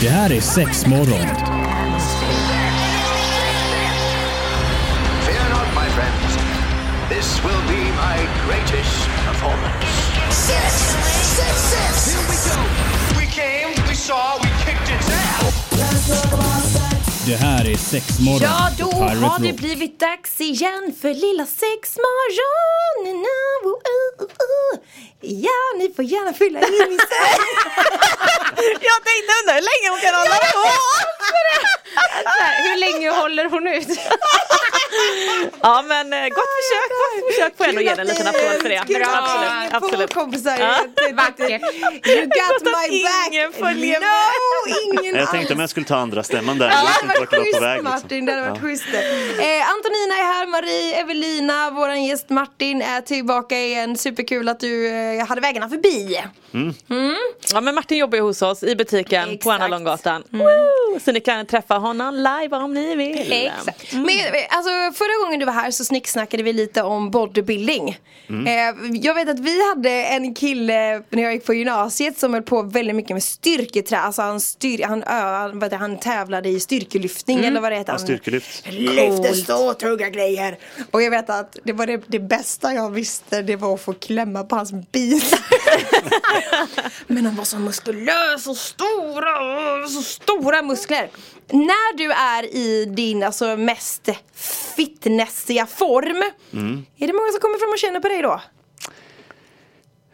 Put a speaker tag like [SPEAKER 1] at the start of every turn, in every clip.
[SPEAKER 1] Det här är sex morgon.
[SPEAKER 2] Fear not, my friends. This will be my greatest performance.
[SPEAKER 3] Six, six, six.
[SPEAKER 2] We came, we saw, we kicked its ass.
[SPEAKER 1] Det här är sex morgon.
[SPEAKER 4] Ja, då
[SPEAKER 1] på Pirate
[SPEAKER 4] har det
[SPEAKER 1] Rock.
[SPEAKER 4] blivit dags igen för lilla sexmorgon. Now, oh, oh, oh. Ja, ni får gärna fylla i min säng.
[SPEAKER 5] Jag tänkte undrar hur länge hon kan hålla på.
[SPEAKER 4] Hur länge håller hon ut?
[SPEAKER 5] Ja men eh, gott försök, gott försök på en och ge den en liten applåd för det.
[SPEAKER 4] Kul att ni
[SPEAKER 5] absolut,
[SPEAKER 4] hänger
[SPEAKER 5] absolut.
[SPEAKER 4] kompisar.
[SPEAKER 5] Ja.
[SPEAKER 4] Vackert.
[SPEAKER 3] You got
[SPEAKER 5] Trots att
[SPEAKER 3] my back.
[SPEAKER 5] ingen följer med.
[SPEAKER 3] no, ingen
[SPEAKER 6] Jag tänkte om jag skulle ta andra stämman där. Jag visste inte vart jag var på väg. liksom.
[SPEAKER 3] Martin, det hade varit
[SPEAKER 6] Ja.
[SPEAKER 3] schysst. Eh, Antonina är här, Marie, Evelina, våran gäst Martin är tillbaka igen. Superkul att du eh, hade vägarna förbi.
[SPEAKER 5] Ja men Martin jobbar ju hos oss i butiken på
[SPEAKER 3] Exakt. Mm.
[SPEAKER 5] Anna Långgatan. Woo! Så ni kan träffa honom live om ni vill.
[SPEAKER 3] Exakt. Men eh, alltså, förra gången du var här så snicksnackade vi lite om bodybuilding. Eh, jag vet att vi hade en kille när jag gick på gymnasiet som höll på väldigt mycket med styrketrä. Alltså han, styr, han, ö, han, vad heter det, han tävlade i styrkelyftning eller vad det heter.
[SPEAKER 6] Ja,
[SPEAKER 3] Han-
[SPEAKER 6] styrkelyft.
[SPEAKER 3] Lyfte ståtrunga grejer. Och jag vet att det var det, det bästa jag visste det var att få klämma på hans bil. Men han var så muskulös och stora, och så stora muskler. När du är i din alltså, mest fitnessiga form, är det många som kommer fram och känner på dig då?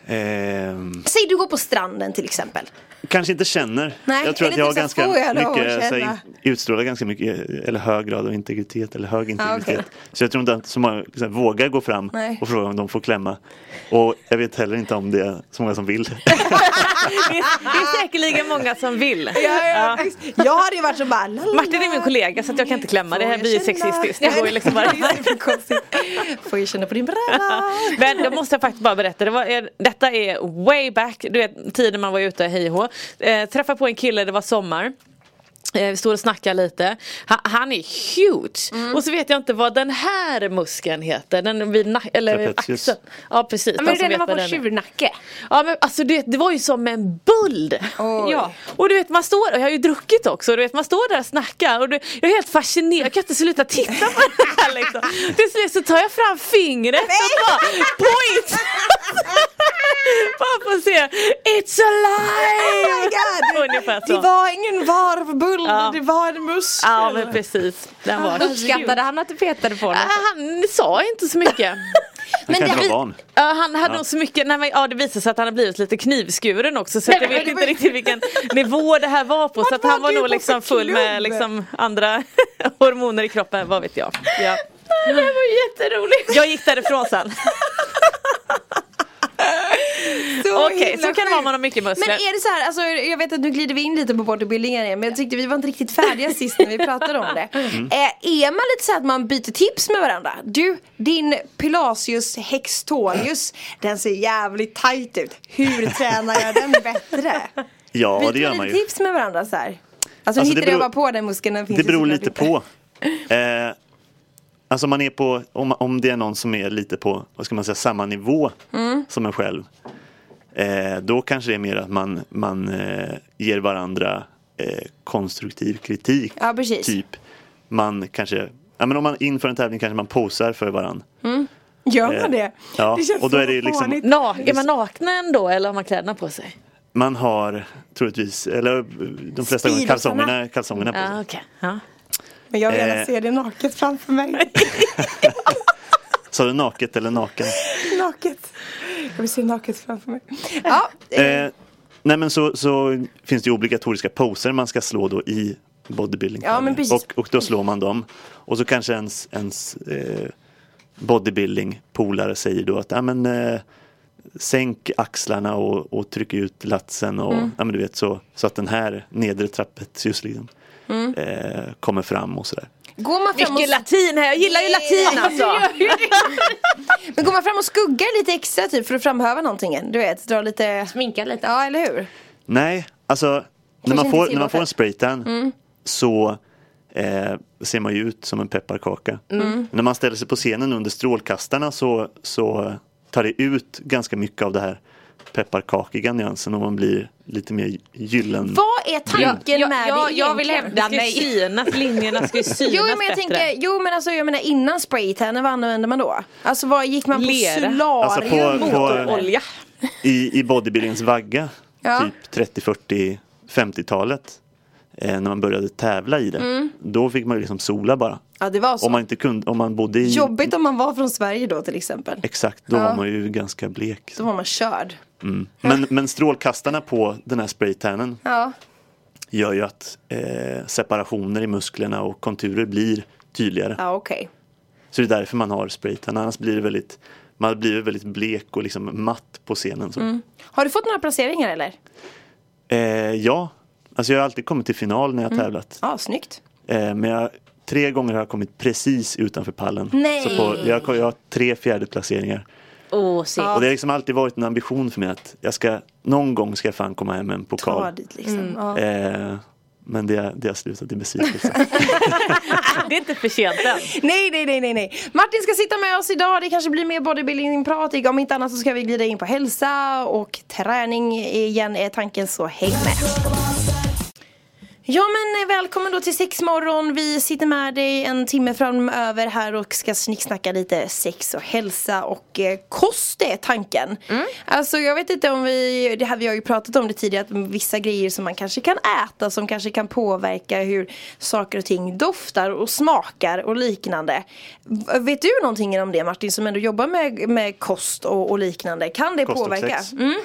[SPEAKER 6] Ehm,
[SPEAKER 3] Säg du går på stranden till exempel.
[SPEAKER 6] kanske inte känner.
[SPEAKER 3] Nej,
[SPEAKER 6] jag tror
[SPEAKER 3] är
[SPEAKER 6] att
[SPEAKER 3] det
[SPEAKER 6] jag har
[SPEAKER 3] inte så
[SPEAKER 6] ganska
[SPEAKER 3] få jag lov att
[SPEAKER 6] mycket, så
[SPEAKER 3] känna?
[SPEAKER 6] här, utstrålar ganska mycket, eh, eller hög grad av integritet eller hög
[SPEAKER 3] Ah, okej.
[SPEAKER 6] integritet. Så jag tror inte att så många så här, vågar gå fram
[SPEAKER 3] Nej.
[SPEAKER 6] och fråga om de får klämma. Och jag vet heller inte om det är så många som vill.
[SPEAKER 5] Det är, det är säkerligen många som vill.
[SPEAKER 3] Jag hade ju varit så bara "Lalala."
[SPEAKER 5] Martin är min kollega så att jag kan inte klämma, det här
[SPEAKER 3] Får
[SPEAKER 5] blir ju
[SPEAKER 3] jag känna?
[SPEAKER 5] sexistiskt. Det går ju liksom bara.
[SPEAKER 3] Det är för konstigt. Får jag känna på din bräda?
[SPEAKER 5] Men då måste jag faktiskt bara berätta, det var, eh, detta är way back, du vet tiden man var ute hej och hå. eh, Träffade på en kille, det var sommar. Eh, Vi står och snackar lite. Han, han är huge! Och så vet jag inte vad den här muskeln heter. Den vid nack- eller vid
[SPEAKER 6] Trapezius.
[SPEAKER 5] axeln. Ja precis.
[SPEAKER 4] Men
[SPEAKER 5] de som
[SPEAKER 4] den
[SPEAKER 5] vet
[SPEAKER 4] var
[SPEAKER 5] vad
[SPEAKER 4] på
[SPEAKER 5] den är.
[SPEAKER 4] tjurnacke.
[SPEAKER 5] Ja men alltså det, det var ju som en böld.
[SPEAKER 3] Oj.
[SPEAKER 5] Ja. Och du vet man står, och jag har ju druckit också, och du vet man står där och snackar och du, jag är helt fascinerad, jag kan inte sluta titta på det här liksom. Till slut så tar jag fram fingret och bara point! bara för att se, it's alive!
[SPEAKER 3] Oh my god!
[SPEAKER 5] Ungefär
[SPEAKER 3] Det
[SPEAKER 5] så.
[SPEAKER 3] var ingen varvbull,
[SPEAKER 5] Ja.
[SPEAKER 3] det var en muskel.
[SPEAKER 5] Ja men precis, den var
[SPEAKER 4] Uppskattade han att du petade på
[SPEAKER 5] Ah,
[SPEAKER 4] honom?
[SPEAKER 5] Han sa inte så mycket.
[SPEAKER 6] Men
[SPEAKER 3] det-
[SPEAKER 6] kanske var
[SPEAKER 3] vi-
[SPEAKER 6] van.
[SPEAKER 5] Ja, han hade nog så mycket, nej, men, ja det visade sig att han har blivit lite knivskuren också så att jag vet inte riktigt vilken nivå det här var på så att
[SPEAKER 3] var
[SPEAKER 5] han var
[SPEAKER 3] du på
[SPEAKER 5] nog
[SPEAKER 3] för
[SPEAKER 5] liksom full
[SPEAKER 3] klubb?
[SPEAKER 5] med liksom andra hormoner i kroppen, vad vet jag. Ja. Det var jätteroligt. Jag gick därifrån sen.
[SPEAKER 3] Så
[SPEAKER 5] Okej,
[SPEAKER 3] himla
[SPEAKER 5] så kan det vara om
[SPEAKER 3] sjukt.
[SPEAKER 5] man har mycket muskler.
[SPEAKER 3] Men är det så här, alltså, jag vet att nu glider vi in lite på bodybuilding här, men jag tyckte vi var inte riktigt färdiga sist när vi pratade om det.
[SPEAKER 5] Mm.
[SPEAKER 3] Eh, är man lite så här att man byter tips med varandra? Du, din Pilasius Hextorius, den ser jävligt tajt ut. Hur tränar jag den bättre?
[SPEAKER 6] Ja,
[SPEAKER 3] Byter
[SPEAKER 6] det gör man ju.
[SPEAKER 3] lite tips med varandra så här? Alltså,
[SPEAKER 6] Alltså,
[SPEAKER 3] nu
[SPEAKER 6] det
[SPEAKER 3] hittar jag
[SPEAKER 6] beror-
[SPEAKER 3] bara på den muskeln, den finns
[SPEAKER 6] Det
[SPEAKER 3] ju
[SPEAKER 6] beror
[SPEAKER 3] såklart
[SPEAKER 6] lite
[SPEAKER 3] inte.
[SPEAKER 6] på. Eh, alltså man är på, om, om det är någon som är lite på, vad ska man säga, samma nivå
[SPEAKER 3] Mm.
[SPEAKER 6] som en själv. Eh, då kanske det är mer att man, man eh, ger varandra eh, konstruktiv kritik.
[SPEAKER 3] Ja, precis.
[SPEAKER 6] Typ, man kanske, ja men om man inför en tävling kanske man posar för varandra.
[SPEAKER 3] Gör man
[SPEAKER 6] Eh,
[SPEAKER 3] det?
[SPEAKER 6] ja,
[SPEAKER 3] det känns
[SPEAKER 6] och då är
[SPEAKER 3] så
[SPEAKER 6] det ju liksom-
[SPEAKER 3] fånigt.
[SPEAKER 5] Na- är man nakna ändå eller har man kläderna på sig?
[SPEAKER 6] Man har troligtvis, eller eh, de flesta gånger
[SPEAKER 3] Speedosarna.
[SPEAKER 6] kalsongerna, kalsongerna på sig.
[SPEAKER 5] Ja, okej. Ja.
[SPEAKER 3] Men jag vill gärna
[SPEAKER 6] Eh.
[SPEAKER 3] se det naket framför mig.
[SPEAKER 6] Sa du naket eller naken?
[SPEAKER 3] naket. Jag vill se naket framför mig. Ja, eh,
[SPEAKER 6] Eh, nej men så, så finns det ju obligatoriska poser man ska slå då i bodybuilding.
[SPEAKER 3] Ja, men precis.
[SPEAKER 6] och, och då slår man dem. Och så kanske ens, ens eh, bodybuilding-polare säger då att ja men, eh, sänk axlarna och, och tryck ut latsen och
[SPEAKER 3] Mm.
[SPEAKER 6] ja, men du vet så, så att den här nedre trappet just liksom,
[SPEAKER 3] Mm.
[SPEAKER 6] eh, kommer fram och sådär.
[SPEAKER 3] går man fram och,
[SPEAKER 5] Mycket latin här, jag gillar ju latin alltså.
[SPEAKER 3] men går man fram och skuggar lite extra typ för att framhäva någonting? Du vet, dra lite...
[SPEAKER 4] Sminka lite.
[SPEAKER 3] Ja, eller hur?
[SPEAKER 6] Nej, alltså när man,
[SPEAKER 3] inte Mm.
[SPEAKER 6] får,
[SPEAKER 3] tillåtet.
[SPEAKER 6] när man får en spraytan så eh, ser man ju ut som en pepparkaka.
[SPEAKER 3] Mm.
[SPEAKER 6] När man ställer sig på scenen under strålkastarna så, så tar det ut ganska mycket av det här pepparkakiga nyansen och man blir lite mer gyllen.
[SPEAKER 3] Vad är tanken med
[SPEAKER 5] jag,
[SPEAKER 3] det
[SPEAKER 5] jag vill
[SPEAKER 3] egentligen?
[SPEAKER 5] hävda mig.
[SPEAKER 3] Nej.
[SPEAKER 5] Synas, linjerna ska ju synas
[SPEAKER 3] Jo men jag
[SPEAKER 5] bättre.
[SPEAKER 3] tänker, jo men alltså jag menar innan spraytanner, vad använde man då? Alltså vad gick man på?
[SPEAKER 5] Lera.
[SPEAKER 3] Solarium?
[SPEAKER 6] Alltså, på- på-
[SPEAKER 5] Motorolja.
[SPEAKER 6] I, i bodybuildingens vagga,
[SPEAKER 3] Ja.
[SPEAKER 6] typ 30, 40, 50-talet, eh, när man började tävla i det, då fick man ju liksom sola bara.
[SPEAKER 3] Ja det var Mm. så.
[SPEAKER 6] Om man inte kunde, om man bodde i...
[SPEAKER 3] Jobbigt om man var från Sverige då till exempel.
[SPEAKER 6] Exakt, då
[SPEAKER 3] Ja.
[SPEAKER 6] var man ju ganska blek.
[SPEAKER 3] Då var man körd.
[SPEAKER 6] Mm. Men, men strålkastarna på den här spraytannen
[SPEAKER 3] Ja.
[SPEAKER 6] gör ju att eh, separationer i musklerna och konturer blir tydligare.
[SPEAKER 3] Ja okej.
[SPEAKER 6] Så det är därför man har spraytan. Annars blir det väldigt, man blir väldigt blek och liksom matt på scenen. Så.
[SPEAKER 3] Har du fått några placeringar eller?
[SPEAKER 6] Eh, ja, alltså jag har alltid kommit till final när jag har
[SPEAKER 3] Mm.
[SPEAKER 6] tävlat.
[SPEAKER 3] Ja, snyggt.
[SPEAKER 6] Eh, men jag, tre gånger har jag kommit precis utanför pallen.
[SPEAKER 3] Nej.
[SPEAKER 6] Så på, jag, har- jag har tre fjärdeplaceringar.
[SPEAKER 5] Åh, se.
[SPEAKER 6] Och det har liksom alltid varit en ambition för mig att jag ska, någon gång ska jag fan komma hem med en pokal.
[SPEAKER 3] Ta dit liksom. Ja.
[SPEAKER 6] Eh, men det, det har slutat i besvikelse.
[SPEAKER 5] Det är inte för sent än.
[SPEAKER 3] Nej, nej, nej, nej, nej. Martin ska sitta med oss idag. Det kanske blir mer bodybuilding-prat. Om inte annat så ska vi glida in på hälsa och träning igen är tanken, så häng med. Ja men eh, välkommen då till sexmorgon. Vi sitter med dig en timme framöver här och ska snicksnacka lite sex och hälsa och eh, kost är tanken.
[SPEAKER 6] Mm.
[SPEAKER 3] Alltså jag vet inte om vi, det här vi har ju pratat om det tidigare, att vissa grejer som man kanske kan äta som kanske kan påverka hur saker och ting doftar och smakar och liknande. V- Vet du någonting om det Martin som ändå jobbar med, med kost och, och liknande? Kan det
[SPEAKER 6] Kost och
[SPEAKER 3] påverka?
[SPEAKER 6] sex.
[SPEAKER 3] Mm.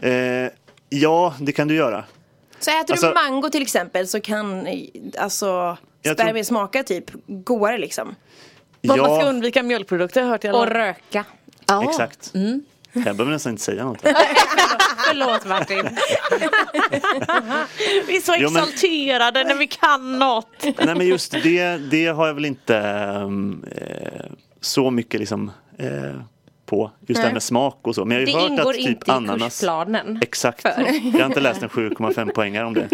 [SPEAKER 6] eh, ja, det kan du göra.
[SPEAKER 3] Så äter du
[SPEAKER 6] Alltså-
[SPEAKER 3] mango till exempel så kan eh, alltså
[SPEAKER 6] Jag
[SPEAKER 3] spermier
[SPEAKER 6] tror-
[SPEAKER 3] smaka typ godare liksom.
[SPEAKER 5] Vad Man ska
[SPEAKER 6] ja,
[SPEAKER 5] undvika mjölkprodukter har jag hört i alla
[SPEAKER 7] Och
[SPEAKER 5] fall.
[SPEAKER 7] röka.
[SPEAKER 5] Ja.
[SPEAKER 6] exakt. Jag behöver nästan inte säga något.
[SPEAKER 7] Förlåt Martin.
[SPEAKER 5] Vi är så
[SPEAKER 6] Jo, men-
[SPEAKER 5] exalterade när vi kan något.
[SPEAKER 6] Nej men just det, det har jag väl inte ehm, eh, så mycket liksom eh, på. Just det här med smak och så. Men jag
[SPEAKER 7] Det
[SPEAKER 6] har ju hört
[SPEAKER 7] ingår
[SPEAKER 6] att typ
[SPEAKER 7] inte i
[SPEAKER 6] ananas.
[SPEAKER 7] kursplanen.
[SPEAKER 6] Exakt. Jag har inte läst en 7,5 poängare om det.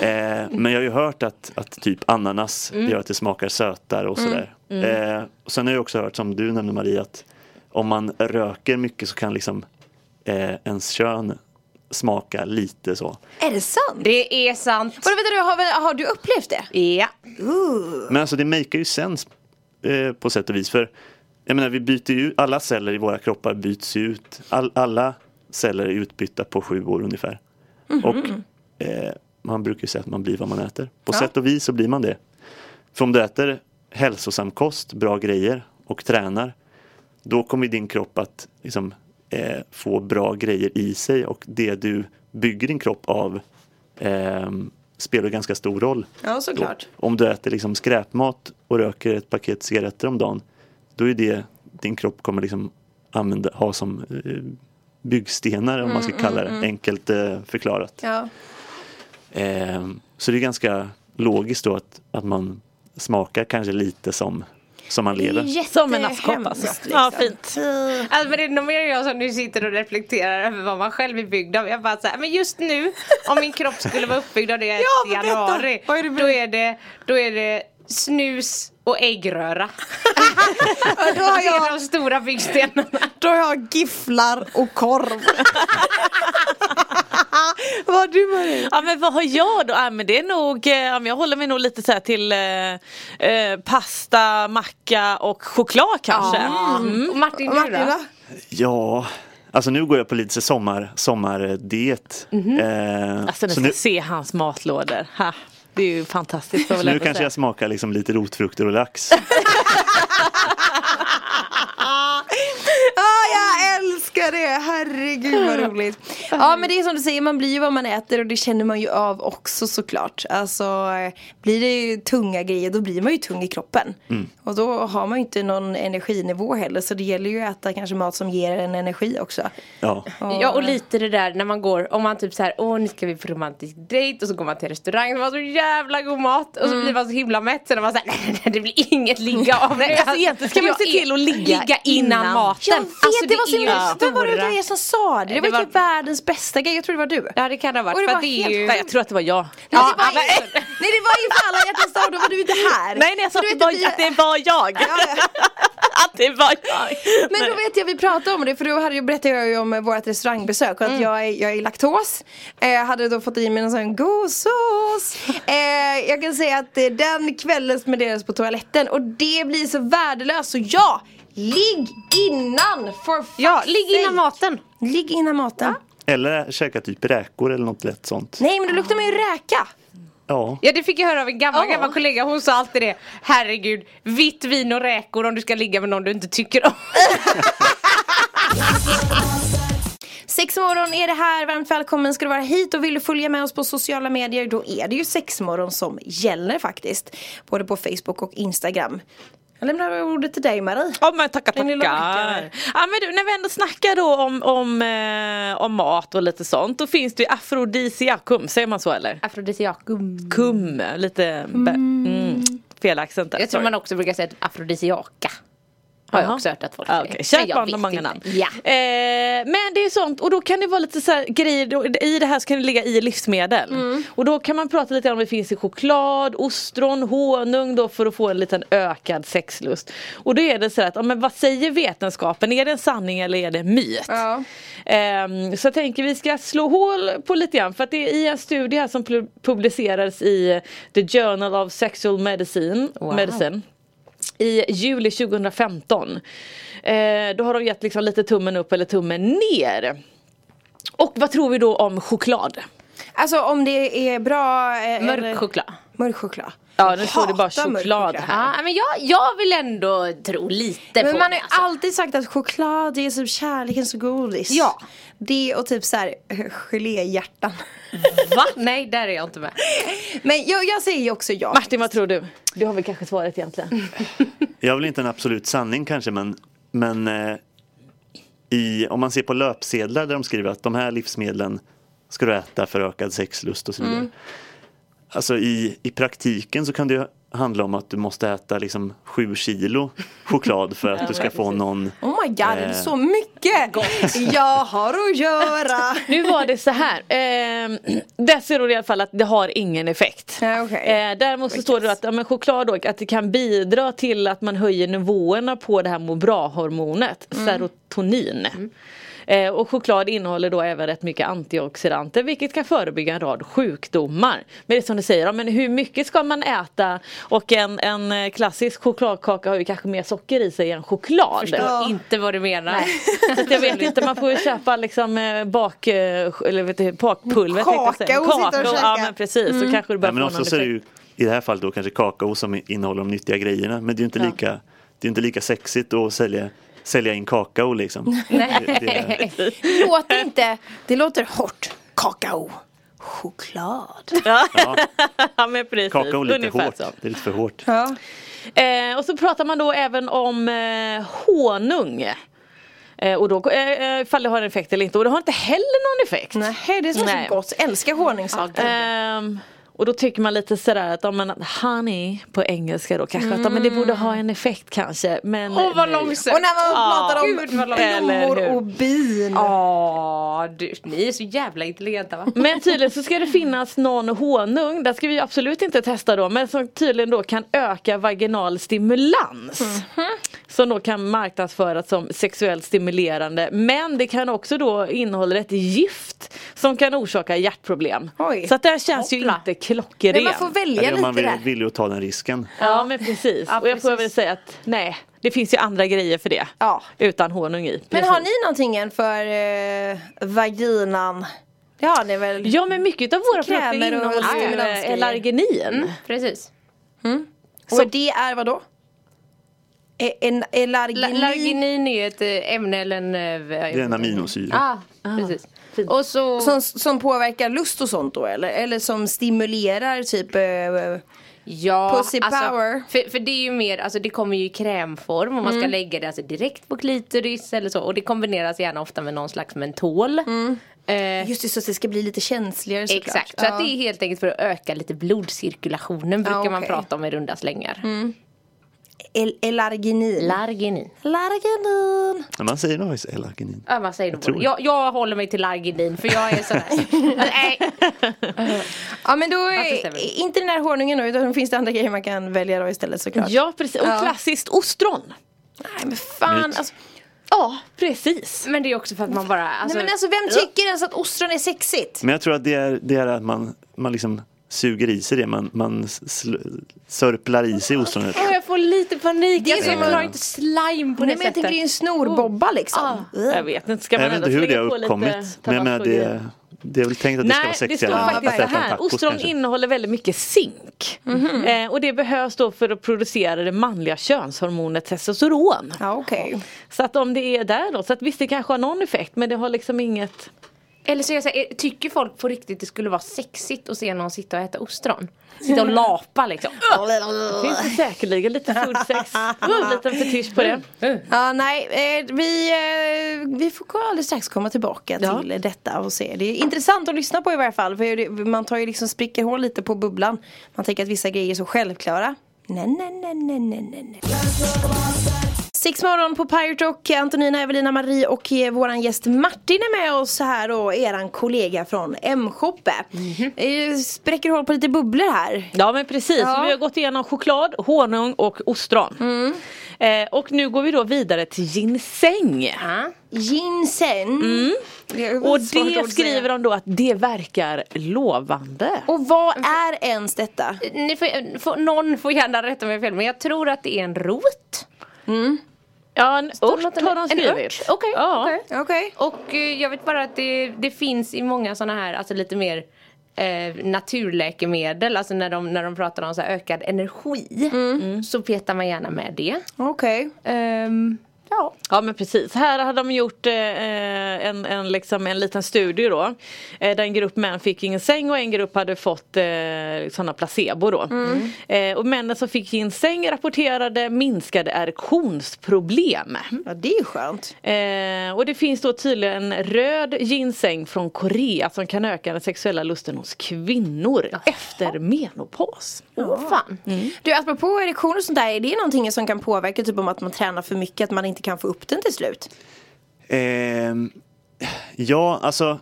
[SPEAKER 6] Eh, men jag har ju hört att, att typ ananas gör att det smakar sötare och sådär. Eh, och sen har jag också hört, som du nämnde Maria, att om man röker mycket så kan liksom eh, ens kön smaka lite så.
[SPEAKER 3] Är det sant?
[SPEAKER 7] Det är sant.
[SPEAKER 3] Vadå vänta du, har, väl- har du upplevt det?
[SPEAKER 7] Ja.
[SPEAKER 6] Men alltså det maker ju sens eh, på sätt och vis. För jag menar, vi byter ju, alla celler i våra kroppar byts ju ut. All, alla celler är utbytta på sju år ungefär. Och eh, man brukar ju säga att man blir vad man äter. På sätt och vis så blir man det. För om du äter hälsosam kost, bra grejer och tränar, då kommer din kropp att liksom, eh, få bra grejer i sig och det du bygger din kropp av ehm, spelar ganska stor roll.
[SPEAKER 3] Ja, såklart.
[SPEAKER 6] Då, om du äter liksom skräpmat och röker ett paket cigaretter om dagen, då är det din kropp kommer liksom använda, ha som eh, byggstenar om man ska kalla det, enkelt eh, förklarat.
[SPEAKER 3] Ja.
[SPEAKER 6] Ehm, så det är ganska logiskt då att, att man smakar kanske lite som, som man lever.
[SPEAKER 5] Som en askkopp alltså.
[SPEAKER 3] Jättehemskt,
[SPEAKER 5] Ja,
[SPEAKER 3] liksom.
[SPEAKER 5] fint.
[SPEAKER 7] Alltså, men det är nog mer jag som nu sitter och reflekterar över vad man själv är byggd av. Jag bara så här, men just nu om min kropp skulle vara uppbyggd av det jag
[SPEAKER 3] Ja,
[SPEAKER 7] äter i
[SPEAKER 3] men berätta.
[SPEAKER 7] januari.
[SPEAKER 3] Vad är det för-
[SPEAKER 7] då, är det, då är det snus och äggröra.
[SPEAKER 3] Ja, Då har
[SPEAKER 7] Det är
[SPEAKER 3] jag,
[SPEAKER 7] de stora byggstenarna.
[SPEAKER 3] då har jag gifflar och korv. Vad har du varit?
[SPEAKER 5] Ja men vad har jag då? Ja, men det är nog, eh, ja, men jag håller mig nog lite så här till eh, eh, pasta, macka och choklad kanske. Mm.
[SPEAKER 7] Och Martin, du
[SPEAKER 3] Martin
[SPEAKER 7] då?
[SPEAKER 3] då?
[SPEAKER 6] Ja, alltså nu går jag på lite sommar, sommardiet. Eh,
[SPEAKER 5] Alltså ni ska
[SPEAKER 6] så nu,
[SPEAKER 5] se hans matlådor. Ha. Det är ju fantastiskt. får jag väl
[SPEAKER 6] så nu
[SPEAKER 5] ändå
[SPEAKER 6] kanske
[SPEAKER 5] säga.
[SPEAKER 6] jag smakar liksom lite rotfrukter och lax.
[SPEAKER 3] Ah, jag älskar det, herregud vad roligt. Ja men det är som du säger, man blir ju vad man äter och det känner man ju av också såklart. Alltså eh, blir det ju tunga grejer då blir man ju tung i kroppen.
[SPEAKER 6] Mm.
[SPEAKER 3] Och då har man ju inte någon energinivå heller så det gäller ju att äta kanske mat som ger en energi också.
[SPEAKER 6] Ja.
[SPEAKER 7] Ja och lite det där när man går, om man typ så här, åh nu ska vi på romantisk dejt och så går man till restaurang och man har så jävla god mat och så blir man så himla mätt så när man säger nej, nej nej det blir inget ligga av det.
[SPEAKER 5] alltså, egentligen ska man
[SPEAKER 7] jag
[SPEAKER 5] se
[SPEAKER 7] är-
[SPEAKER 5] till att ligga
[SPEAKER 7] ligga innan,
[SPEAKER 5] innan.
[SPEAKER 7] maten.
[SPEAKER 3] Jag vet, det, var så
[SPEAKER 7] alltså, är ju
[SPEAKER 3] himla, vad var det
[SPEAKER 7] stora-
[SPEAKER 3] det som sa det? Det var,
[SPEAKER 7] Det var-
[SPEAKER 3] typ världens årets bästa grej, jag tror det var du.
[SPEAKER 7] Ja det kan det ha varit.
[SPEAKER 3] Och det
[SPEAKER 7] för
[SPEAKER 3] var
[SPEAKER 7] att är
[SPEAKER 3] helt
[SPEAKER 7] ju...
[SPEAKER 5] Nej, jag tror att det var jag.
[SPEAKER 3] Ja,
[SPEAKER 7] det var
[SPEAKER 3] nej, nej det var inför alla hjärtans dag, då var du inte här.
[SPEAKER 5] Nej, nej jag
[SPEAKER 3] Så
[SPEAKER 5] sa att
[SPEAKER 3] du
[SPEAKER 5] det,
[SPEAKER 3] vet
[SPEAKER 5] var,
[SPEAKER 3] vi-
[SPEAKER 5] att det var jag.
[SPEAKER 3] Ja, ja.
[SPEAKER 5] att det var jag.
[SPEAKER 3] Men då vet jag vi pratade om det för då hade jag, berättade jag ju om eh, vårt restaurangbesök och att jag, är, jag är laktos. Eh, hade då fått i mig en sån god sås. Eh, jag kan säga att eh, den kvällen spenderades på toaletten och det blir så värdelöst så ja, ligg innan for
[SPEAKER 7] Ja, ligg innan maten.
[SPEAKER 3] Ligg innan maten.
[SPEAKER 6] Eller käka typ räkor eller något lätt sånt.
[SPEAKER 3] Nej men det luktar man ju räka.
[SPEAKER 6] Ja.
[SPEAKER 7] Ja det fick jag höra av en gammal,
[SPEAKER 3] Ja.
[SPEAKER 7] gammal kollega, hon sa alltid det Herregud, vitt vin och räkor om du ska ligga med någon du inte tycker om
[SPEAKER 3] Sexmorgon är det här, varmt välkommen ska du vara hit och vill du följa med oss på sociala medier då är det ju sexmorgon som gäller faktiskt. Både på Facebook och Instagram. Jag lämnar över ordet till dig Marie.
[SPEAKER 5] Ja men tackar
[SPEAKER 3] Den
[SPEAKER 5] tackar.
[SPEAKER 3] lilla rackaren.
[SPEAKER 5] Ja, men du, när vi ändå snackar då om, om, eh, om mat och lite sånt då finns det ju afrodisiakum, säger man så eller?
[SPEAKER 7] Afrodisiakum
[SPEAKER 5] Kum, lite be- mm, fel accent där.
[SPEAKER 7] Jag tror
[SPEAKER 5] sorry.
[SPEAKER 7] man också brukar säga ett afrodisiaka Har jag
[SPEAKER 5] Jaha.
[SPEAKER 7] också hört att folk
[SPEAKER 5] Ja,
[SPEAKER 7] säger
[SPEAKER 5] okej.
[SPEAKER 7] Men
[SPEAKER 5] Kärt
[SPEAKER 7] jag
[SPEAKER 5] barn har
[SPEAKER 7] vet
[SPEAKER 5] många
[SPEAKER 7] inte.
[SPEAKER 5] namn.
[SPEAKER 7] Ja
[SPEAKER 5] Eh, men det är sånt och då kan det vara lite så här grejer, då, i det här så kan det ligga i livsmedel. Och då kan man prata lite om det finns i choklad, ostron, honung då för att få en liten ökad sexlust. Och då är det så här att, ja, men vad säger vetenskapen? Är det en sanning eller är det en myt?
[SPEAKER 3] Ja.
[SPEAKER 5] Ehm, så jag tänker vi ska slå hål på lite grann för att det är i en studie här som pu- publicerades i The Journal of Sexual Medicine, Medicine i juli 2015. Eh, då har de gett liksom lite tummen upp eller tummen ner. Och vad tror vi då om choklad?
[SPEAKER 3] Alltså om det är bra... eh, eller-
[SPEAKER 7] Mörk choklad
[SPEAKER 3] Mörk choklad.
[SPEAKER 5] Ja, nu står det bara
[SPEAKER 3] Hatar mörk
[SPEAKER 5] choklad
[SPEAKER 3] choklad.
[SPEAKER 5] här.
[SPEAKER 7] Ja men jag, jag vill ändå tro lite
[SPEAKER 3] Men
[SPEAKER 7] på
[SPEAKER 3] man har
[SPEAKER 7] det alltså.
[SPEAKER 3] ju alltid sagt att choklad det är typ kärlekens godis.
[SPEAKER 7] Ja.
[SPEAKER 3] Det och typ så här eh, geléhjärtan.
[SPEAKER 7] Va? Nej där är jag inte med
[SPEAKER 3] Men jag, jag säger ju också ja.
[SPEAKER 5] Martin vad tror du? Du har väl kanske svaret egentligen?
[SPEAKER 6] Jag vill inte en absolut sanning kanske men, men eh, i, om man ser på löpsedlar där de skriver att de här livsmedlen ska du äta för ökad sexlust och så
[SPEAKER 5] Mm.
[SPEAKER 6] vidare. Alltså i, i praktiken så kan det ju handla om att du måste äta liksom sju kilo choklad för att du ska få någon
[SPEAKER 3] Oh my god, det är
[SPEAKER 6] Eh.
[SPEAKER 3] så mycket! Jag har att göra!
[SPEAKER 5] Nu var det så här. Eh, där ser du i alla fall att det har ingen effekt.
[SPEAKER 3] Ja, okej.
[SPEAKER 5] eh, däremot så står det då att ja, men choklad då, att det kan bidra till att man höjer nivåerna på det här må bra-hormonet,
[SPEAKER 3] Mm.
[SPEAKER 5] serotonin. Eh, och choklad innehåller då även rätt mycket antioxidanter vilket kan förebygga en rad sjukdomar. Men det är som du säger, ja, men hur mycket ska man äta? Och en, en eh, klassisk chokladkaka har ju kanske mer socker i sig än choklad.
[SPEAKER 7] Förstår inte vad du menar
[SPEAKER 5] Så att jag vet inte, man får ju köpa liksom eh, bak, eh, eller vet du, bakpulver tänkte jag säga.
[SPEAKER 3] Kaka och sitta och käka.
[SPEAKER 5] Ja men precis, så kanske du
[SPEAKER 6] Mm. Nej,
[SPEAKER 5] börjar
[SPEAKER 6] men
[SPEAKER 5] få någon
[SPEAKER 6] ofta så är det
[SPEAKER 5] effekt.
[SPEAKER 6] ju i det här fallet då kanske kakao som innehåller de nyttiga grejerna men det är ju inte, lika, det är inte lika sexigt att sälja, sälja in kakao liksom. Det, det är,
[SPEAKER 3] Det låter inte, det låter hårt. Kakao. Choklad.
[SPEAKER 5] Ja men precis,
[SPEAKER 6] kakao är lite
[SPEAKER 5] ungefär
[SPEAKER 6] hårt,
[SPEAKER 5] så.
[SPEAKER 6] det är lite för hårt.
[SPEAKER 3] Ja.
[SPEAKER 5] Eh, och så pratar man då även om eh, honung. Eh, och då, eh, eh, ifall det har en effekt eller inte. Och det har inte heller någon effekt.
[SPEAKER 3] Nej, eh, det är så,
[SPEAKER 5] Nej.
[SPEAKER 3] så gott. Älskar honungssaft.
[SPEAKER 5] Ehm, och då tycker man lite sådär att, ja, men, att honey på engelska då kanske att ja, men det borde ha en effekt kanske. Men
[SPEAKER 7] Åh vad
[SPEAKER 5] nej.
[SPEAKER 7] långsökt
[SPEAKER 3] och när man pratar om
[SPEAKER 7] Gud, vad långt.
[SPEAKER 5] Eller
[SPEAKER 3] blommor
[SPEAKER 5] hur?
[SPEAKER 3] och bin.
[SPEAKER 7] Ja, du, ni är så jävla intelligenta va?
[SPEAKER 5] Men tydligen så ska det finnas någon honung, där ska vi absolut inte testa då, men som tydligen då kan öka vaginal stimulans.
[SPEAKER 3] Mhm.
[SPEAKER 5] Som då kan marknadsföras som sexuellt stimulerande men det kan också då innehålla ett gift som kan orsaka hjärtproblem.
[SPEAKER 3] Oj.
[SPEAKER 5] Så att det här känns ju
[SPEAKER 3] Hoppla.
[SPEAKER 5] inte klockren.
[SPEAKER 3] Men man får välja
[SPEAKER 6] Eller om
[SPEAKER 3] lite
[SPEAKER 6] man vill,
[SPEAKER 3] där.
[SPEAKER 6] vill ju ta den risken.
[SPEAKER 5] Ja men precis.
[SPEAKER 7] Ja,
[SPEAKER 5] Och jag får
[SPEAKER 7] precis.
[SPEAKER 5] väl säga att nej, det finns ju andra grejer för det.
[SPEAKER 3] Ja.
[SPEAKER 5] Utan honung i.
[SPEAKER 3] Men har
[SPEAKER 5] Precis.
[SPEAKER 3] ni någonting än för eh, vaginan? Det har ni väl?
[SPEAKER 5] Ja men mycket av våra produkter
[SPEAKER 3] Krämer och Mm.
[SPEAKER 5] innehåller ju eh,
[SPEAKER 3] stimulansgrejer.
[SPEAKER 5] elarginin.
[SPEAKER 7] mm, Precis
[SPEAKER 3] Och det är vad då? E- En
[SPEAKER 7] La-
[SPEAKER 3] elarginin?
[SPEAKER 7] Larginin är ett eh, ämne eller en... eh, vad
[SPEAKER 6] Det är
[SPEAKER 7] heter
[SPEAKER 6] en aminosyra.
[SPEAKER 7] Ah, precis. Och Ah. så...
[SPEAKER 3] Som, som påverkar lust och sånt då eller? Eller som stimulerar typ eh,
[SPEAKER 7] ja, alltså,
[SPEAKER 3] pussy power. Mm.
[SPEAKER 7] För, för det är ju mer, alltså det kommer ju i krämform och man ska lägga det alltså direkt på klitoris eller så. Och det kombineras gärna ofta med någon slags mentol. Eh,
[SPEAKER 3] Mm. Just det, så att det ska bli lite känsligare såklart.
[SPEAKER 7] Exakt, så att det är helt enkelt för att öka lite blodcirkulationen brukar man
[SPEAKER 3] okej. Mm.
[SPEAKER 7] prata om i runda slängar.
[SPEAKER 3] El- Elarginin.
[SPEAKER 7] Larginin.
[SPEAKER 3] Elarginin.
[SPEAKER 6] Men man säger nog faktiskt elarginin.
[SPEAKER 7] Ja, man säger nog
[SPEAKER 6] tror
[SPEAKER 7] både. jag, jag håller mig till larginin för jag är sån här. Nej.
[SPEAKER 3] Ja men då
[SPEAKER 7] det
[SPEAKER 3] är
[SPEAKER 7] stämmer.
[SPEAKER 3] inte den där honungen då utan då finns det andra grejer man kan välja då istället såklart.
[SPEAKER 5] Ja precis, och
[SPEAKER 3] Ja.
[SPEAKER 5] klassiskt ostron.
[SPEAKER 3] Nej men fan
[SPEAKER 6] Myt.
[SPEAKER 3] alltså.
[SPEAKER 5] Ja precis.
[SPEAKER 7] Men det är också för att man bara alltså,
[SPEAKER 3] Nej men alltså vem tycker ens att ostron är sexigt?
[SPEAKER 6] Men jag tror att det är, det är att man, man liksom suger i sig det. Man, man sl- sörplar i sig ostronet.
[SPEAKER 7] Åh, Jag får lite panik,
[SPEAKER 3] är
[SPEAKER 7] alltså, jag
[SPEAKER 3] som-
[SPEAKER 7] klarar inte slime på
[SPEAKER 3] Nej
[SPEAKER 7] det
[SPEAKER 3] men jag tänker det är ju
[SPEAKER 7] sättet
[SPEAKER 3] en snorbobba liksom.
[SPEAKER 7] Ah.
[SPEAKER 5] Jag vet inte, ska man
[SPEAKER 6] Jag vet inte
[SPEAKER 5] ändå
[SPEAKER 6] hur det
[SPEAKER 5] slänga
[SPEAKER 6] har
[SPEAKER 5] på lite
[SPEAKER 6] uppkommit. Men jag menar
[SPEAKER 5] tabasco-grejer?
[SPEAKER 6] det, det är väl tänkt att det ska
[SPEAKER 5] Nej,
[SPEAKER 6] vara
[SPEAKER 5] det står
[SPEAKER 6] sexigare än att
[SPEAKER 5] faktiskt så
[SPEAKER 6] äta
[SPEAKER 5] här.
[SPEAKER 6] tacos
[SPEAKER 5] Ostron
[SPEAKER 6] kanske.
[SPEAKER 5] innehåller väldigt mycket zink. Eh, och det behövs då för att producera det manliga könshormonet testosteron.
[SPEAKER 3] Ja okej.
[SPEAKER 5] Så att om det är där då, så att visst det kanske har någon effekt men det har liksom inget
[SPEAKER 7] Eller så är jag så här, eh, tycker folk på riktigt det skulle vara sexigt att se någon sitta och äta ostron? Sitta och lapa liksom
[SPEAKER 5] Det finns det säkerligen lite food sex. Uh, liten fetisch på det.
[SPEAKER 3] Ja nej eh, vi, eh, vi får alldeles strax komma tillbaka
[SPEAKER 5] Ja.
[SPEAKER 3] till detta och se. Det är intressant att lyssna på i varje fall. För det- man tar ju liksom spricker hål lite på bubblan. Man tänker att vissa grejer är så självklara. Nej nej nej nej nej nej. nej. Six morgon på Pirate Rock, Antonina, Evelina, Marie och eh, våran gäst Martin är med oss här och eran kollega från M-shoppe.
[SPEAKER 5] Mhm.
[SPEAKER 3] Eh, Spräcker hål på lite bubblor här.
[SPEAKER 5] Ja men precis,
[SPEAKER 3] Ja.
[SPEAKER 5] vi har gått igenom choklad, honung och ostron. Eh, och nu går vi då vidare till ginseng.
[SPEAKER 3] Ginseng. Det är
[SPEAKER 5] Mm. Och
[SPEAKER 3] svårt ord
[SPEAKER 5] det
[SPEAKER 3] att säga.
[SPEAKER 5] skriver de då att det verkar lovande.
[SPEAKER 3] Och vad
[SPEAKER 5] Mm.
[SPEAKER 3] är ens detta?
[SPEAKER 7] Ni får, eh, får, Någon får gärna rätta mig fel men jag tror att det är en rot
[SPEAKER 5] Ja, en ört
[SPEAKER 7] något-
[SPEAKER 5] har de
[SPEAKER 7] en
[SPEAKER 5] skrivit.
[SPEAKER 7] ört? Okej,
[SPEAKER 5] ja.
[SPEAKER 7] okej.
[SPEAKER 3] Okej.
[SPEAKER 7] Och eh, jag vet bara att det, det finns i många sådana här, alltså lite mer eh, naturläkemedel, alltså när de, när de pratar om så här ökad energi
[SPEAKER 5] Mm.
[SPEAKER 7] Mm. så petar man gärna med det.
[SPEAKER 3] Okej.
[SPEAKER 7] Ehm, ja.
[SPEAKER 5] Ja men precis, här hade de gjort eh, en, en, liksom, en liten studie då. Eh, där en grupp män fick ginseng och en grupp hade fått eh, sådana placebo då. Eh, och männen som fick ginseng rapporterade minskade erektionsproblem.
[SPEAKER 3] Ja det är skönt.
[SPEAKER 5] Eh, och det finns då tydligen en röd ginseng från Korea som kan öka den sexuella lusten hos kvinnor efter menopaus.
[SPEAKER 7] Åh fan.
[SPEAKER 3] Du apropå erektioner och sånt där, är det någonting som kan påverka typ om att man tränar för mycket, att man inte kan få upp den till slut?
[SPEAKER 6] Ehm, ja, alltså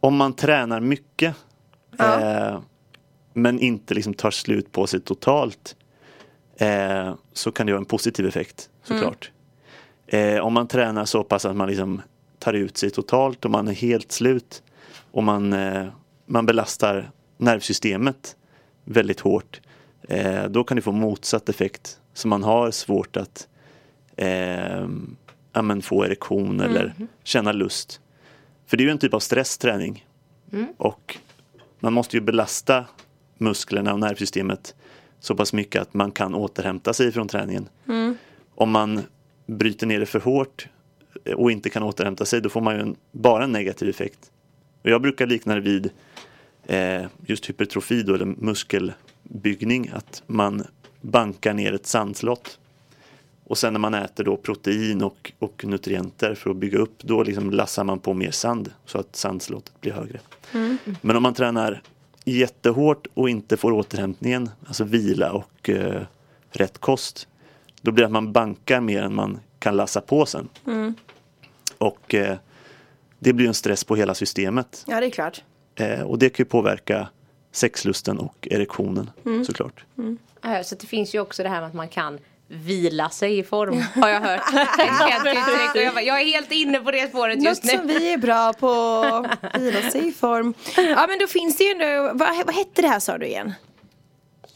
[SPEAKER 6] om man tränar mycket eh, men inte liksom tar slut på sig totalt eh, så kan det ha en positiv effekt såklart. Eh, om man tränar så pass att man liksom tar ut sig totalt och man är helt slut och man, eh, man belastar nervsystemet väldigt hårt eh, då kan det få motsatt effekt så man har svårt att eh, ja, men få erektion eller känna lust. För det är ju en typ av stressträning. Och man måste ju belasta musklerna och nervsystemet så pass mycket att man kan återhämta sig från träningen. Om man bryter ner det för hårt eh, och inte kan återhämta sig då får man ju en, bara en negativ effekt. Och jag brukar likna det vid eh, just hypertrofi då, eller muskelbyggning, att man bankar ner ett sandslott. Och sen när man äter då protein och, och nutrienter för att bygga upp, då liksom lassar man på mer sand så att sandslottet blir högre. Men om man tränar jättehårt och inte får återhämtningen, alltså vila och eh, rätt kost, då blir det att man bankar mer än man kan lassa på sen. Och eh, det blir ju en stress på hela systemet.
[SPEAKER 3] Ja det är klart.
[SPEAKER 6] Eh, och det kan ju påverka sexlusten och erektionen såklart.
[SPEAKER 7] Eh, Så det finns ju också det här med att man kan vila sig i form har jag hört. Det är helt intressant. Och jag, bara, jag är helt inne på det spåret just
[SPEAKER 3] Något
[SPEAKER 7] nu.
[SPEAKER 3] som vi är bra på, vila sig i form. Ja men då finns det ju ändå, vad, vad hette det här sa du igen?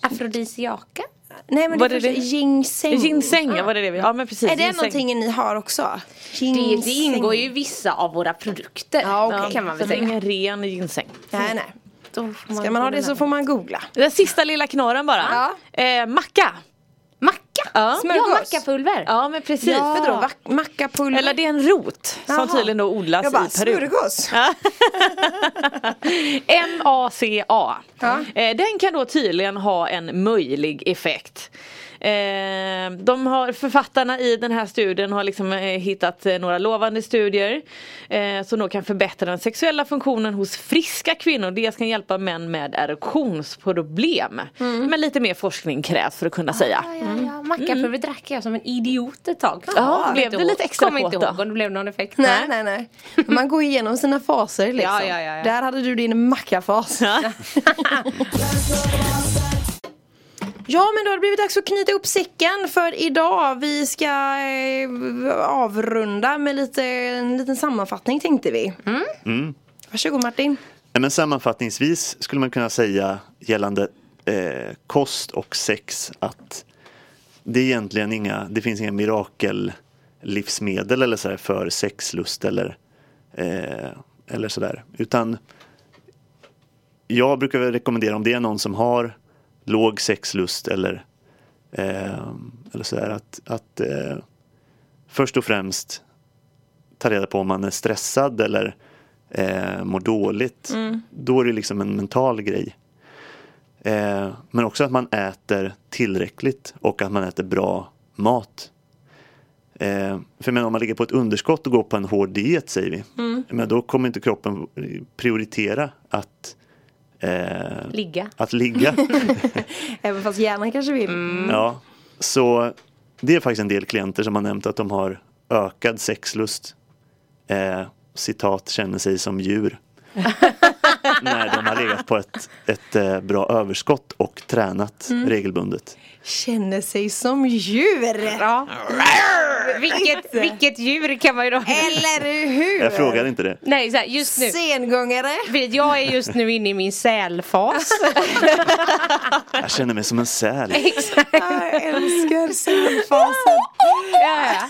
[SPEAKER 7] Afrodisiaka?
[SPEAKER 3] Nej men
[SPEAKER 5] Vad
[SPEAKER 3] det
[SPEAKER 5] är
[SPEAKER 3] första-
[SPEAKER 5] det?
[SPEAKER 3] ginseng.
[SPEAKER 5] Ginseng, ja, var det det vi... Ja men precis.
[SPEAKER 3] Är det
[SPEAKER 5] ginseng.
[SPEAKER 3] någonting ni har också?
[SPEAKER 7] Det, det ingår ju i vissa av våra produkter.
[SPEAKER 3] Ja, okej.
[SPEAKER 7] Kan
[SPEAKER 5] Så
[SPEAKER 7] man väl
[SPEAKER 5] det är
[SPEAKER 7] säga.
[SPEAKER 5] ingen ren ginseng.
[SPEAKER 3] Nej nej.
[SPEAKER 7] Då får
[SPEAKER 3] Ska man ha det så får man googla.
[SPEAKER 5] Den sista lilla knorren bara. Eh, macka.
[SPEAKER 7] Macka!
[SPEAKER 5] Ja.
[SPEAKER 7] Ja,
[SPEAKER 3] Smörgås.
[SPEAKER 7] mackapulver!
[SPEAKER 5] Ja men precis.
[SPEAKER 3] Typ, Vadå, vack- mackapulver?
[SPEAKER 5] Eller det är en rot
[SPEAKER 3] Jaha.
[SPEAKER 5] som tydligen då odlas
[SPEAKER 3] Jag bara,
[SPEAKER 5] i Peru.
[SPEAKER 3] smörgås?
[SPEAKER 5] MACA.
[SPEAKER 3] Ja.
[SPEAKER 5] Eh, Den kan då tydligen ha en möjlig effekt. Eh, de har, författarna i den här studien har liksom eh, hittat eh, några lovande studier eh, som då kan förbättra den sexuella funktionen hos friska kvinnor. Dels kan hjälpa män med erektionsproblem. Men lite mer forskning krävs för att kunna säga.
[SPEAKER 7] Ja, ja, ja. Mackafeber drack jag som en idiot ett tag.
[SPEAKER 5] Ja, blev du lite extra
[SPEAKER 7] Kommer inte
[SPEAKER 5] kåt då?
[SPEAKER 7] ihåg om det blev någon effekt.
[SPEAKER 8] Nej, nej, nej. Man går igenom sina faser liksom.
[SPEAKER 7] Ja, ja, ja, ja.
[SPEAKER 8] Där hade du din mackafas.
[SPEAKER 5] Ja.
[SPEAKER 3] Ja men då har det blivit dags att knyta upp säcken för idag. Vi ska eh, avrunda med lite, en liten sammanfattning tänkte vi.
[SPEAKER 7] Mm.
[SPEAKER 3] Varsågod Martin.
[SPEAKER 6] Nej, Men sammanfattningsvis skulle man kunna säga gällande eh, kost och sex att det är egentligen inga, det finns inga mirakellivsmedel eller så här för sexlust eller, eh, eller sådär. Utan jag brukar väl rekommendera om det är någon som har låg sexlust eller, eh, eller sådär att, att eh, först och främst ta reda på om man är stressad eller eh, mår dåligt. Då är det liksom en mental grej. Eh, men också att man äter tillräckligt och att man äter bra mat. Eh, för jag menar, om man ligger på ett underskott och går på en hård diet säger vi. Men då kommer inte kroppen prioritera att eh,
[SPEAKER 7] Ligga.
[SPEAKER 6] att ligga.
[SPEAKER 3] Även fast hjärnan kanske vill.
[SPEAKER 6] Ja, så det är faktiskt en del klienter som har nämnt att de har ökad sexlust. Eh, citat, känner sig som djur. När de har legat på ett, ett eh, bra överskott och tränat regelbundet.
[SPEAKER 8] Känner sig som djur.
[SPEAKER 7] Ja. vilket, vilket djur kan man ju då...
[SPEAKER 8] Eller hur?
[SPEAKER 6] Jag frågar inte det.
[SPEAKER 7] Nej, så här, just nu.
[SPEAKER 8] Sengångare.
[SPEAKER 7] Vet, Jag är just nu inne i min sälfas.
[SPEAKER 6] Jag känner mig som en säl.
[SPEAKER 8] Jag älskar sälfasen.
[SPEAKER 7] ja, ja.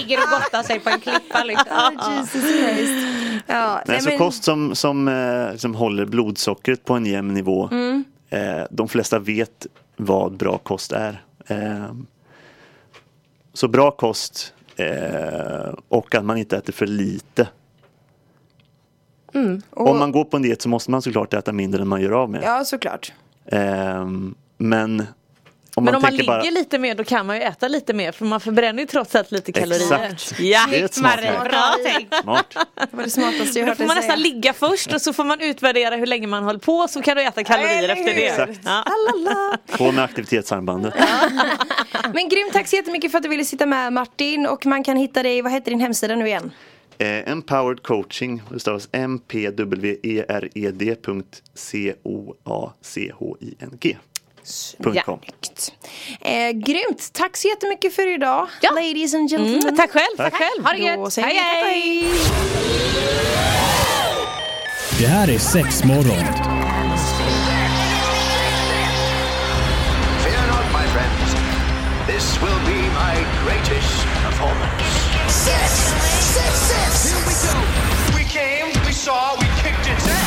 [SPEAKER 7] Ligger och gottar sig på en klippa liksom.
[SPEAKER 8] Oh, Jesus Christ. Ja,
[SPEAKER 6] Nej, så kost som, som, eh, som håller blodsockret på en jämn nivå.
[SPEAKER 5] Mm.
[SPEAKER 6] Eh, de flesta vet vad bra kost är. Eh, så bra kost eh, och att man inte äter för lite.
[SPEAKER 5] Mm.
[SPEAKER 6] Om man går på en diet så måste man såklart äta mindre än man gör av med.
[SPEAKER 8] ja, såklart.
[SPEAKER 6] Eh, men om
[SPEAKER 5] Men
[SPEAKER 6] man
[SPEAKER 5] om man
[SPEAKER 6] tänker
[SPEAKER 5] ligger
[SPEAKER 6] bara...
[SPEAKER 5] lite mer då kan man ju äta lite mer för man förbränner ju trots allt lite kalorier.
[SPEAKER 6] Exakt.
[SPEAKER 5] Ja.
[SPEAKER 6] Det är ett smart
[SPEAKER 7] Marie,
[SPEAKER 6] mål.
[SPEAKER 7] bra tänkt.
[SPEAKER 6] Smart.
[SPEAKER 8] Det var det smartaste jag
[SPEAKER 5] Då
[SPEAKER 8] hört
[SPEAKER 5] får
[SPEAKER 8] dig
[SPEAKER 5] man
[SPEAKER 8] säga.
[SPEAKER 5] nästan ligga först och så får man utvärdera hur länge man håller på så kan du äta kalorier
[SPEAKER 8] Eller
[SPEAKER 5] efter
[SPEAKER 8] hur?
[SPEAKER 5] det.
[SPEAKER 6] Exakt.
[SPEAKER 5] Ja.
[SPEAKER 6] På med aktivitetsarmbandet.
[SPEAKER 3] Men grymt tack så jättemycket för att du ville sitta med Martin och man kan hitta dig, vad heter din hemsida nu igen?
[SPEAKER 6] Eh, Empowered coaching, det stavas E mpwered.coaching.
[SPEAKER 7] Ja.
[SPEAKER 6] .com.
[SPEAKER 3] Eh, grymt, tack så jättemycket för idag
[SPEAKER 7] Ja.
[SPEAKER 3] ladies and gentlemen.
[SPEAKER 5] Mm, tack själv, tack själv.
[SPEAKER 7] Ha det
[SPEAKER 3] Då
[SPEAKER 7] gött.
[SPEAKER 3] säger vi tack och hej.
[SPEAKER 1] Det här är sex morgon.
[SPEAKER 2] Oh, Fear not, my friends. This will be my greatest performance.
[SPEAKER 9] Six, six, six. Here we go.
[SPEAKER 2] We came, we saw, we kicked its ass.